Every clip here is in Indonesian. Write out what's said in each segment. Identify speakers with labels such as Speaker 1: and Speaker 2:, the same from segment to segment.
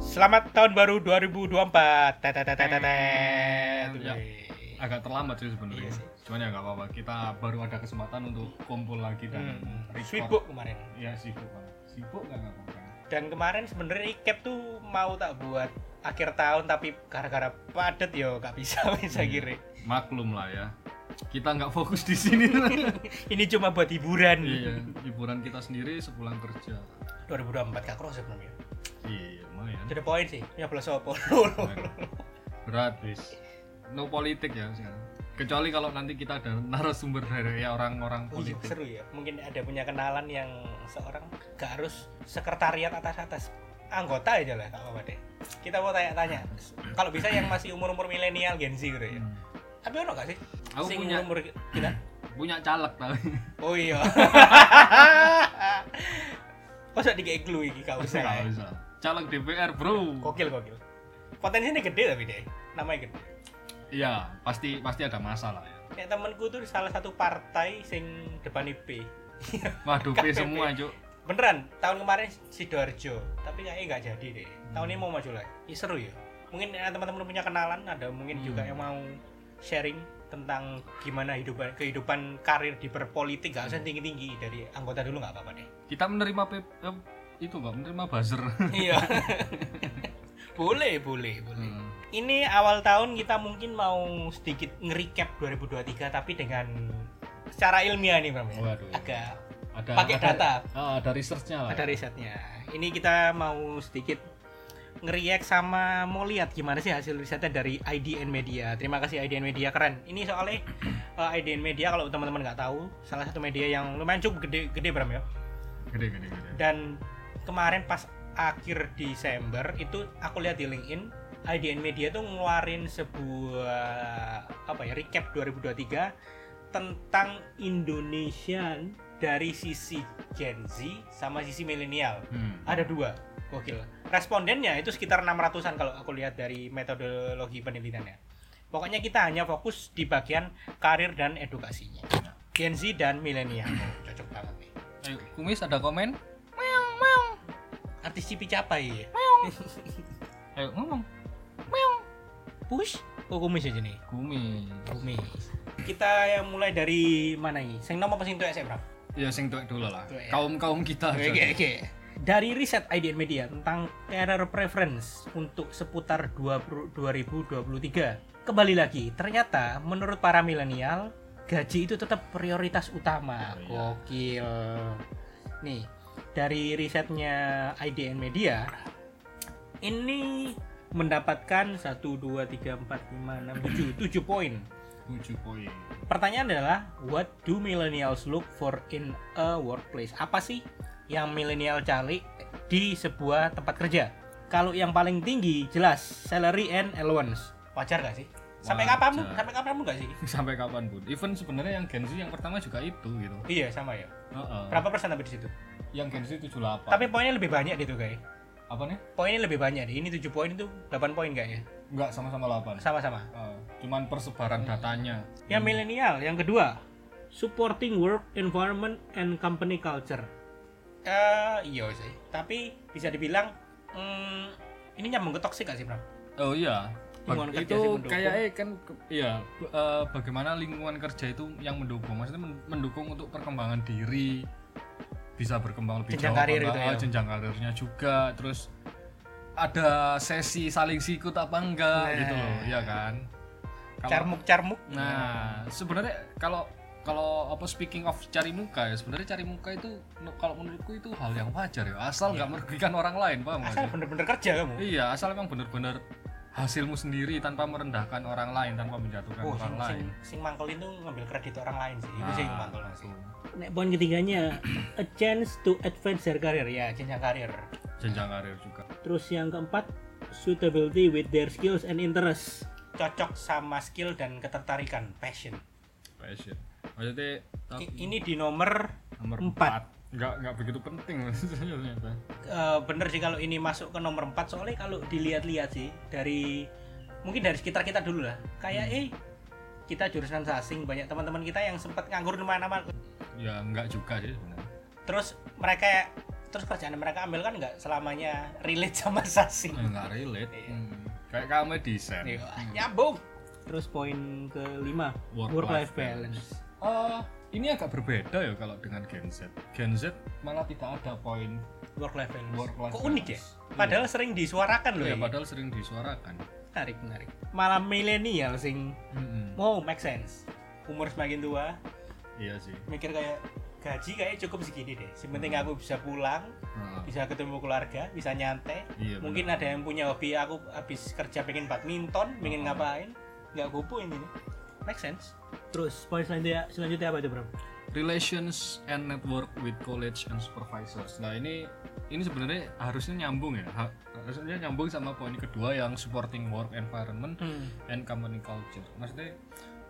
Speaker 1: Selamat tahun baru 2024. Tetetetetetet.
Speaker 2: Ya. agak terlambat sih sebenarnya.
Speaker 1: Iya sih.
Speaker 2: Cuman ya nggak apa-apa. Kita baru ada kesempatan untuk kumpul lagi dan
Speaker 1: Hmm.
Speaker 2: record.
Speaker 1: Sibuk kemarin.
Speaker 2: Ya sibuk banget. Sibuk nggak apa-apa.
Speaker 1: Dan kemarin sebenarnya recap tuh mau tak buat akhir tahun tapi gara-gara padet yo gak bisa bisa
Speaker 2: Iya.
Speaker 1: kiri.
Speaker 2: Maklum lah ya. Kita nggak fokus di sini.
Speaker 1: Ini cuma buat hiburan.
Speaker 2: iya. Hiburan kita sendiri sepulang kerja.
Speaker 1: 2024 gak cross sebenarnya.
Speaker 2: Iya, lumayan.
Speaker 1: Jadi poin sih. Ya belas opo.
Speaker 2: Berat wis. No politik ya sekarang. Kecuali kalau nanti kita ada narasumber dari ya orang-orang
Speaker 1: Oh, iya,
Speaker 2: politik.
Speaker 1: seru ya. Mungkin ada punya kenalan yang seorang gak harus sekretariat atas-atas. Anggota aja lah, gak apa-apa deh. Kita mau tanya-tanya. Kalau bisa yang masih umur-umur milenial Gen Z gitu ya.
Speaker 2: Hmm.
Speaker 1: Tapi ono gak sih?
Speaker 2: Aku
Speaker 1: Sing
Speaker 2: punya
Speaker 1: umur kita.
Speaker 2: punya caleg tapi.
Speaker 1: Oh iya. Masa tiga clue iki gak usah.
Speaker 2: Nggak
Speaker 1: ya?
Speaker 2: usah. Caleg DPR, Bro.
Speaker 1: Gokil gokil. Potensinya gede tapi deh. Namanya gede.
Speaker 2: Iya, pasti pasti ada masalah ya.
Speaker 1: Nek temenku tuh salah satu partai sing depan IP.
Speaker 2: Waduh,
Speaker 1: KPP.
Speaker 2: P semua, Cuk.
Speaker 1: Beneran, tahun kemarin Sidoarjo, tapi kayaknya nggak jadi deh. Tahun ini mau maju lagi. Ya, seru ya. Mungkin eh, teman-teman punya kenalan, ada mungkin
Speaker 2: Hmm.
Speaker 1: juga yang mau sharing tentang gimana hidupan kehidupan karir di berpolitik gak
Speaker 2: Hmm.
Speaker 1: usah tinggi-tinggi dari anggota dulu nggak apa-apa deh.
Speaker 2: Kita menerima P eh, itu, Pak, menerima buzzer.
Speaker 1: Iya. boleh, boleh, boleh.
Speaker 2: Hmm.
Speaker 1: Ini awal tahun kita mungkin mau sedikit nge-recap 2023 tapi dengan secara ilmiah nih Bram ya.
Speaker 2: Oh, Waduh.
Speaker 1: Agak
Speaker 2: Ada
Speaker 1: pakai
Speaker 2: ada-
Speaker 1: data,
Speaker 2: Ah, ada researchnya lah.
Speaker 1: ada risetnya. Ini kita mau sedikit ngeriak sama mau lihat gimana sih hasil risetnya dari IDN Media. Terima kasih IDN Media keren. Ini soalnya eh, IDN Media kalau teman-teman nggak tahu, salah satu media yang lumayan cukup gede gede Bram ya.
Speaker 2: Gede gede gede.
Speaker 1: Dan kemarin pas akhir Desember itu aku lihat di LinkedIn IDN Media tuh ngeluarin sebuah apa ya recap 2023 tentang Indonesian dari sisi Gen Z sama sisi milenial.
Speaker 2: Hmm.
Speaker 1: Ada dua. Gokil. Respondennya itu sekitar 600-an kalau aku lihat dari metodologi penelitiannya. Pokoknya kita hanya fokus di bagian karir dan edukasinya. Gen Z dan milenial. Cocok banget nih.
Speaker 2: Eh, Kumis ada komen?
Speaker 1: Artis Cipi Capai ya.
Speaker 2: Ayo ngomong.
Speaker 1: push oh kumis aja nih
Speaker 2: Kumis.
Speaker 1: kumis kita yang mulai dari mana ini sing nomor apa sing tuwek sik, Bram?
Speaker 2: Ya sing tuwek dulu lah.
Speaker 1: Tuwek ya.
Speaker 2: Kaum-kaum kita.
Speaker 1: oke
Speaker 2: Cuk.
Speaker 1: oke dari riset IDN Media tentang career preference untuk seputar 20 2023 kembali lagi ternyata menurut para milenial gaji itu tetap prioritas utama
Speaker 2: Oh,
Speaker 1: gokil nih dari risetnya IDN Media ini mendapatkan 1, 2, 3, 4, 5, 6, 7, 7 poin
Speaker 2: Tujuh poin.
Speaker 1: Pertanyaan adalah what do millennials look for in a workplace? Apa sih yang milenial cari di sebuah tempat kerja? Kalau yang paling tinggi jelas salary and allowance. Wajar gak sih? Sampai
Speaker 2: Wajar.
Speaker 1: kapan sampai kapan gak sih?
Speaker 2: Sampai kapan pun. Even sebenarnya yang Gen Z yang pertama juga itu gitu.
Speaker 1: Iya sama ya.
Speaker 2: Heeh.
Speaker 1: Berapa persen tapi di situ?
Speaker 2: Yang Gen Z 78.
Speaker 1: Tapi poinnya lebih banyak gitu guys.
Speaker 2: apa nih?
Speaker 1: Poinnya lebih banyak deh. Ini 7 poin itu 8 poin kayaknya.
Speaker 2: Enggak sama-sama 8.
Speaker 1: Sama-sama.
Speaker 2: Eh, cuman
Speaker 1: Hmm.
Speaker 2: persebaran datanya.
Speaker 1: Yang milenial, yang kedua, supporting work environment and company culture. Eh, iya sih. Tapi bisa dibilang hmm, ini nyambung ke toxic gak sih, Bram?
Speaker 2: Oh iya.
Speaker 1: Lingkungan kerja sih
Speaker 2: itu
Speaker 1: mendukung.
Speaker 2: kayaknya kan ke- iya b- eh, bagaimana lingkungan kerja itu yang mendukung maksudnya men- mendukung untuk perkembangan diri bisa berkembang lebih
Speaker 1: Jenjang
Speaker 2: jauh
Speaker 1: karir
Speaker 2: apa
Speaker 1: gitu
Speaker 2: enggak,
Speaker 1: ya.
Speaker 2: ah, jenjang karirnya juga terus ada sesi saling sikut apa enggak
Speaker 1: Nah.
Speaker 2: gitu loh ya kan Kalau-
Speaker 1: Carmuk-carmuk.
Speaker 2: Nah, sebenarnya kalau kalau apa speaking of cari muka ya sebenarnya cari muka itu no- kalau menurutku itu hal yang wajar ya asal nggak merugikan orang lain paham
Speaker 1: Iya.
Speaker 2: nggak
Speaker 1: asal
Speaker 2: sih?
Speaker 1: bener-bener kerja kamu.
Speaker 2: Iya, asal emang bener-bener hasilmu sendiri tanpa merendahkan orang lain tanpa menjatuhkan
Speaker 1: Oh, sing,
Speaker 2: orang
Speaker 1: sing,
Speaker 2: lain. Nah,
Speaker 1: sing mangkelin tuh ngambil kredit orang lain sih. Itu sih yang mangkel sih.
Speaker 2: itu.
Speaker 1: Ah. Nek poin ketiganya, a chance to advance their career ya, jenjang karir.
Speaker 2: jenjang karir juga.
Speaker 1: Terus yang keempat, suitability with their skills and interests. Cocok sama skill dan ketertarikan, passion.
Speaker 2: Passion. Maksudnya
Speaker 1: I- ini di nomor
Speaker 2: nomor
Speaker 1: empat.
Speaker 2: 4. Enggak enggak begitu penting maksudnya ternyata.
Speaker 1: eh, bener sih kalau ini masuk ke nomor 4 soalnya kalau dilihat-lihat sih dari mungkin dari sekitar kita dulu lah kayak
Speaker 2: Hmm.
Speaker 1: eh kita jurusan sasing banyak teman-teman kita yang sempat nganggur di mana-mana
Speaker 2: Ya enggak juga sih sebenarnya.
Speaker 1: terus mereka terus kerjaan mereka ambil kan nggak selamanya relate sama sasi
Speaker 2: Eh, nggak relate
Speaker 1: Iya.
Speaker 2: Hmm. kayak kamu desain
Speaker 1: Iya, nyambung terus poin kelima
Speaker 2: Work-life
Speaker 1: work life balance
Speaker 2: Eh, ini agak berbeda ya kalau dengan Gen Z Gen Z malah tidak ada poin
Speaker 1: work life balance
Speaker 2: work life
Speaker 1: kok unik ya
Speaker 2: balance.
Speaker 1: padahal sering disuarakan loh ya
Speaker 2: Iya, padahal sering disuarakan
Speaker 1: menarik menarik malah milenial sing
Speaker 2: Mm-mm.
Speaker 1: mau Oh, make sense umur semakin tua
Speaker 2: Hmm. iya sih
Speaker 1: mikir kayak gaji kayaknya cukup segini deh sementing aku bisa pulang
Speaker 2: Nah,
Speaker 1: bisa ketemu keluarga bisa nyantai
Speaker 2: iya,
Speaker 1: mungkin
Speaker 2: benar.
Speaker 1: ada yang punya hobi aku habis kerja pengen badminton pengen
Speaker 2: Hmm.
Speaker 1: ngapain nggak kupu ini make sense terus poin selanjutnya selanjutnya apa itu bro
Speaker 2: relations and network with college and supervisors. Nah ini ini sebenarnya harusnya nyambung ya, Ha- harusnya nyambung sama poin kedua yang supporting work environment
Speaker 1: hmm.
Speaker 2: and company culture. Maksudnya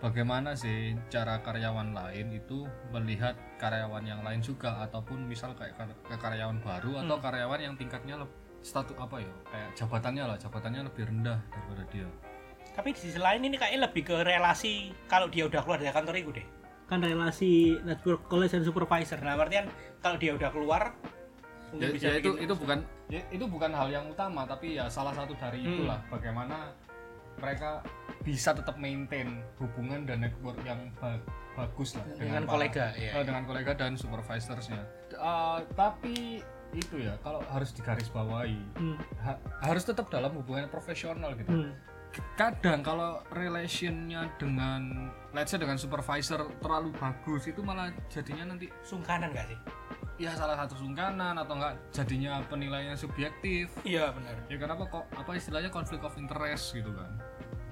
Speaker 2: bagaimana sih cara karyawan lain itu melihat karyawan yang lain juga ataupun misal kayak kar- ke karyawan baru atau karyawan yang tingkatnya leb- status apa ya kayak jabatannya lah jabatannya lebih rendah daripada dia.
Speaker 1: tapi di sisi lain ini kayaknya lebih ke relasi kalau dia udah keluar dari kantor itu deh
Speaker 3: kan relasi network college dan supervisor
Speaker 1: nah artian kalau dia udah keluar
Speaker 2: ya,
Speaker 1: mungkin bisa
Speaker 2: ya itu
Speaker 1: bikin-
Speaker 2: itu bukan ya, itu bukan hal yang utama tapi ya salah satu dari
Speaker 1: Hmm.
Speaker 2: itulah bagaimana mereka bisa tetap maintain hubungan dan network yang ba- bagus lah
Speaker 1: dengan
Speaker 2: para-
Speaker 1: kolega
Speaker 2: eh,
Speaker 1: ya
Speaker 2: dengan kolega dan supervisorsnya Eh, tapi itu ya kalau harus digarisbawahi
Speaker 3: Hmm.
Speaker 2: ha- harus tetap dalam hubungan profesional gitu
Speaker 3: Hmm.
Speaker 2: kadang kalau relationnya dengan let's say dengan supervisor terlalu bagus itu malah jadinya nanti
Speaker 1: sungkanan gak sih
Speaker 2: ya salah satu sungkanan atau enggak jadinya penilaiannya subjektif
Speaker 1: iya benar
Speaker 2: ya kenapa kok apa istilahnya konflik of interest gitu kan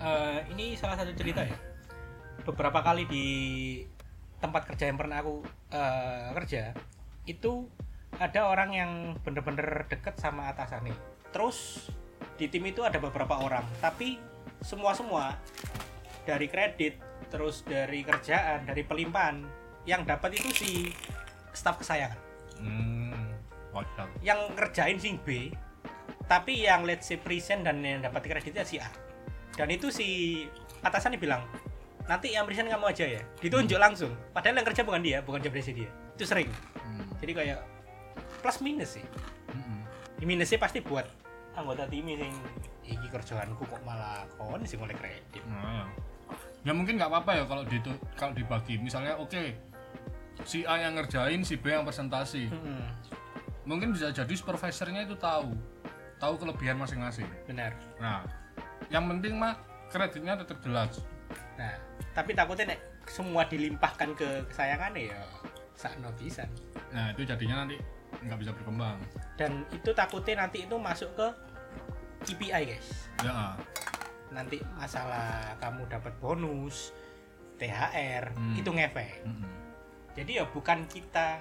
Speaker 1: Eh, ini salah satu cerita ya beberapa kali di tempat kerja yang pernah aku eh, kerja itu ada orang yang bener-bener deket sama atasannya terus di tim itu ada beberapa orang tapi semua-semua dari kredit terus dari kerjaan dari pelimpahan yang dapat itu si staf kesayangan
Speaker 2: hmm kocak
Speaker 1: yang ngerjain sing B tapi yang let's say present dan yang dapat kreditnya si A dan itu si atasannya bilang nanti yang present kamu aja ya ditunjuk langsung padahal yang kerja bukan dia bukan jobdesknya dia itu sering
Speaker 2: Hmm.
Speaker 1: jadi kayak plus minus sih Di minusnya pasti buat anggota tim yang iki kerjaanku kok malah kon sing oleh kredit
Speaker 2: Nah, ya. ya mungkin nggak apa-apa ya kalau di kalau dibagi misalnya oke si A yang ngerjain si B yang presentasi
Speaker 1: Mm-mm,
Speaker 2: mungkin bisa jadi supervisornya itu tahu tahu kelebihan masing-masing
Speaker 1: benar
Speaker 2: nah yang penting mah kreditnya tetap jelas
Speaker 1: nah tapi takutnya nek semua dilimpahkan ke kesayangannya ya sakno pisan
Speaker 2: nah itu jadinya nanti nggak bisa berkembang
Speaker 1: dan itu takutnya nanti itu masuk ke KPI guys
Speaker 2: ya
Speaker 1: nanti masalah kamu dapat bonus THR
Speaker 2: Hmm.
Speaker 1: itu ngefek
Speaker 2: Mm-mm.
Speaker 1: jadi ya bukan kita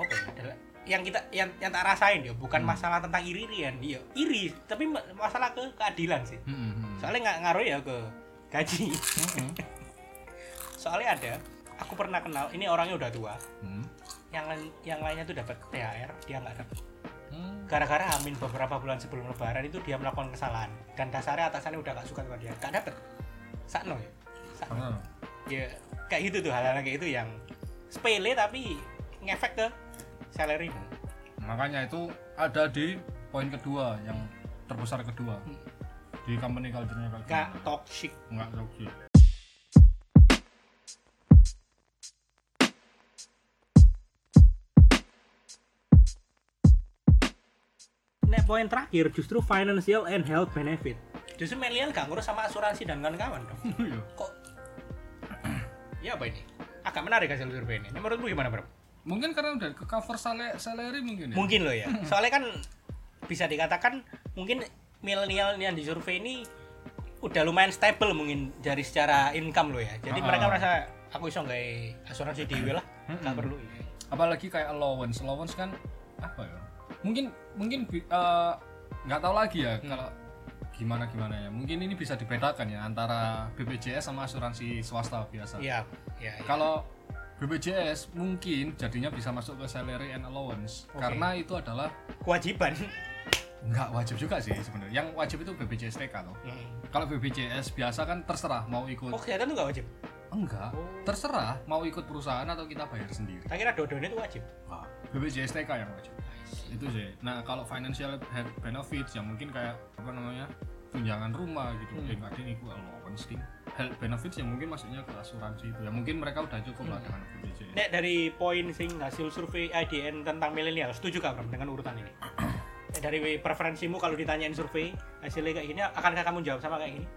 Speaker 1: oke adalah- yang kita yang yang tak rasain ya bukan
Speaker 2: Hmm.
Speaker 1: masalah tentang iri irian ya iri tapi ma- masalah ke keadilan sih
Speaker 2: Mm-mm.
Speaker 1: soalnya nggak ngaruh ya ke gaji
Speaker 2: Mm-mm.
Speaker 1: soalnya ada aku pernah kenal ini orangnya udah tua
Speaker 2: Mm.
Speaker 1: yang lain- yang lainnya tuh dapat THR dia nggak dapat
Speaker 2: Mm.
Speaker 1: gara-gara Amin beberapa bulan sebelum lebaran itu dia melakukan kesalahan dan dasarnya atasannya udah gak suka sama dia gak dapet sakno ya sakno
Speaker 2: Karena-
Speaker 1: ya kayak gitu tuh hal-hal kayak itu yang sepele tapi ngefek ke salary
Speaker 2: makanya itu ada di poin kedua yang terbesar kedua
Speaker 1: Hmm.
Speaker 2: di company culture-nya kayak
Speaker 1: gak
Speaker 2: gimana.
Speaker 1: toxic
Speaker 2: nggak toxic
Speaker 3: Nek poin terakhir justru financial and health benefit.
Speaker 1: justru Melian gak ngurus sama asuransi dan kawan-kawan dong
Speaker 2: Iya.
Speaker 1: kok ya apa ini agak menarik hasil survei ini Ini menurutmu gimana bro?
Speaker 2: mungkin karena udah ke cover sale- salary mungkin ya
Speaker 1: mungkin loh ya soalnya kan bisa dikatakan mungkin milenial yang disurvey ini udah lumayan stable mungkin dari secara income loh ya jadi
Speaker 2: Ah.
Speaker 1: mereka merasa aku iso nggak asuransi dewe lah nggak perlu ya.
Speaker 2: apalagi kayak allowance allowance kan apa ya mungkin mungkin bi- eh, nggak tahu lagi ya kalau gimana gimana ya mungkin ini bisa dibedakan ya antara BPJS sama asuransi swasta biasa
Speaker 1: iya ya, ya.
Speaker 2: Kalau BPJS mungkin jadinya bisa masuk ke salary and allowance
Speaker 1: Oke.
Speaker 2: karena itu adalah
Speaker 1: kewajiban
Speaker 2: nggak wajib juga sih sebenarnya. Yang wajib itu BPJS TK loh.
Speaker 1: Hmm.
Speaker 2: Kalau BPJS biasa kan terserah mau ikut
Speaker 1: oh kesehatan tuh nggak wajib
Speaker 2: enggak, terserah mau ikut perusahaan atau kita bayar sendiri.
Speaker 1: tak kira dua-duanya itu wajib
Speaker 2: BPJS TK yang wajib.
Speaker 1: I
Speaker 2: itu sih nah kalau financial he- benefits ya mungkin kayak apa namanya tunjangan rumah gitu
Speaker 1: Hmm.
Speaker 2: ya nggak ada nih gua allowance ding. health benefits ya mungkin maksudnya ke asuransi itu ya mungkin mereka udah cukup lah
Speaker 1: Hmm.
Speaker 2: dengan BPJS
Speaker 1: Nek dari poin sing hasil survei IDN tentang milenial, setuju gak Bram dengan urutan ini? Nek dari preferensimu kalau ditanyain survei hasilnya kayak gini, akankah kamu jawab sama kayak gini?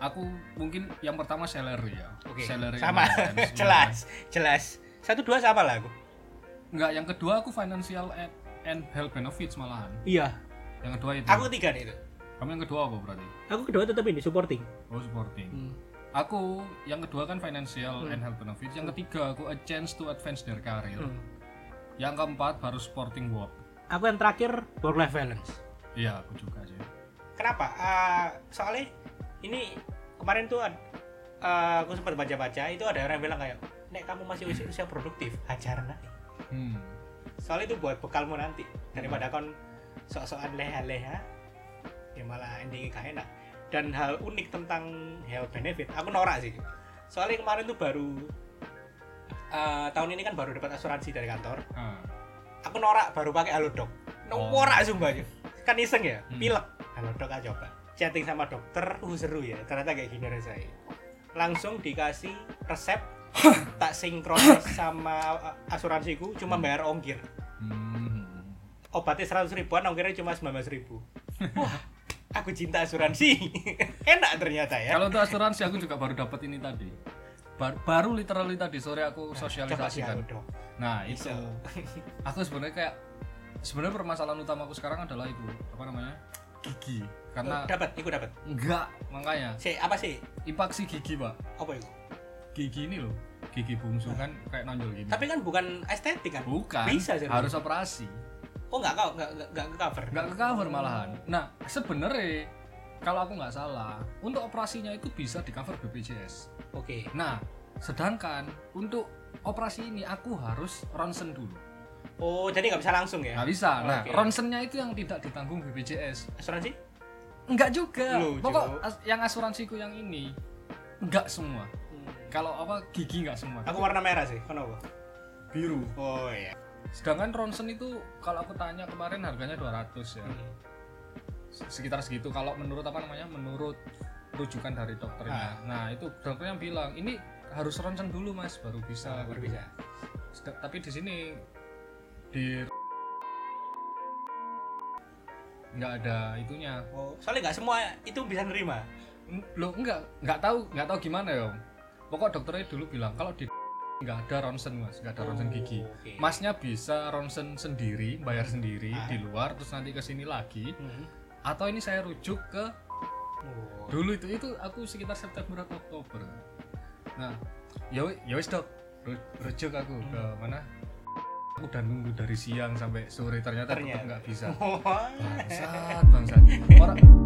Speaker 2: aku mungkin yang pertama salary ya
Speaker 1: Oke,
Speaker 2: salary
Speaker 1: sama,
Speaker 2: allowance,
Speaker 1: jelas, jelas. Satu dua sama lah aku.
Speaker 2: ya. nggak yang kedua aku financial and, and health benefits malahan
Speaker 1: Iya.
Speaker 2: yang kedua itu
Speaker 1: Aku tiga nih itu.
Speaker 2: kamu yang kedua apa berarti
Speaker 3: Aku kedua tetap ini supporting.
Speaker 2: oh supporting
Speaker 1: Hmm.
Speaker 2: aku yang kedua kan financial and health benefits yang ketiga aku a chance to advance their career
Speaker 1: Hmm.
Speaker 2: yang keempat baru sporting work
Speaker 3: Aku yang terakhir work life balance.
Speaker 2: iya aku juga sih
Speaker 1: Kenapa? Ah, soalnya ini kemarin tuh ad- ah, aku sempat baca-baca itu ada orang yang bilang kayak, Nek kamu masih usia, usia produktif, hajar nah.
Speaker 2: hmm.
Speaker 1: soalnya itu buat bekalmu nanti daripada kon sok-sokan leha-leha ya malah endingnya gak enak dan hal unik tentang health benefit aku norak sih soalnya kemarin tuh baru eh, tahun ini kan baru dapat asuransi dari kantor
Speaker 2: Ah,
Speaker 1: aku norak baru pakai halodoc
Speaker 2: Oh.
Speaker 1: norak sumpah Cuk. kan iseng ya
Speaker 2: Hmm.
Speaker 1: pilek halodoc aja coba chatting sama dokter uh seru ya ternyata kayak gini rasanya langsung dikasih resep tak sinkron sama eh, asuransiku cuma bayar ongkir
Speaker 2: hmm.
Speaker 1: obatnya seratus ribuan ongkirnya cuma sembilan ribu wah aku cinta asuransi enak ternyata ya
Speaker 2: Kalau untuk asuransi aku juga baru dapat ini tadi. Bar- baru literally tadi sore aku
Speaker 1: Nah, coba sih aku
Speaker 2: sosialisasikan.
Speaker 1: dong
Speaker 2: Nah, itu.
Speaker 1: bisa
Speaker 2: Aku sebenarnya kayak sebenarnya permasalahan utamaku sekarang adalah itu, apa namanya? Gigi. Karena
Speaker 1: dapat ikut dapat
Speaker 2: enggak makanya
Speaker 1: si apa sih
Speaker 2: impaksi gigi, Pak.
Speaker 1: apa itu
Speaker 2: Hmm. Gigi ini loh. Gigi bungsu kan kayak nonjol gini.
Speaker 1: Nah. tapi kan bukan estetik kan
Speaker 2: bukan.
Speaker 1: bisa sih
Speaker 2: harus operasi.
Speaker 1: oh nggak kau nggak nggak- nggak cover
Speaker 2: Enggak ke cover malahan. Nah, sebenarnya kalau aku nggak salah, untuk operasinya itu bisa di cover BPJS.
Speaker 1: oke
Speaker 2: Nah, sedangkan untuk operasi ini aku harus ronsen dulu.
Speaker 1: oh jadi nggak bisa langsung ya
Speaker 2: Nggak bisa. Nah,
Speaker 1: Oke.
Speaker 2: ronsennya itu yang tidak ditanggung BPJS.
Speaker 1: asuransi
Speaker 2: Enggak juga.
Speaker 1: Loh, Jo.
Speaker 2: Pokok as- yang asuransiku yang ini enggak semua.
Speaker 1: Hmm.
Speaker 2: Kalau apa gigi enggak semua.
Speaker 1: aku warna merah sih kenapa
Speaker 2: biru.
Speaker 1: oh iya
Speaker 2: Sedangkan ronsen itu kalau aku tanya kemarin harganya 200 ya.
Speaker 1: Hmm.
Speaker 2: Sekitar segitu kalau menurut apa namanya? Menurut rujukan dari
Speaker 1: Ah.
Speaker 2: dokternya. Nah, itu dokternya bilang, "Ini harus ronsen dulu, Mas, baru bisa."
Speaker 1: Ah, baru bisa
Speaker 2: Sedang- tapi di sini di nggak ada itunya
Speaker 1: oh soalnya nggak semua itu bisa nerima
Speaker 2: N- lo nggak nggak tahu nggak tahu gimana ya Om. pokok dokternya dulu bilang kalau di nggak ada ronsen mas nggak ada
Speaker 1: Oh,
Speaker 2: ronsen gigi
Speaker 1: oke.
Speaker 2: masnya bisa ronsen sendiri bayar sendiri
Speaker 1: Ah.
Speaker 2: di luar terus nanti ke sini lagi
Speaker 1: Hmm.
Speaker 2: atau ini saya rujuk ke
Speaker 1: Oh.
Speaker 2: dulu itu itu aku sekitar September atau Oktober nah ya wi- ya wis dok Ru- rujuk aku ke mana aku udah nunggu dari siang sampai sore ternyata tetap
Speaker 1: Ternyata.
Speaker 2: nggak bisa
Speaker 1: Wah.
Speaker 2: bangsat bangsat orang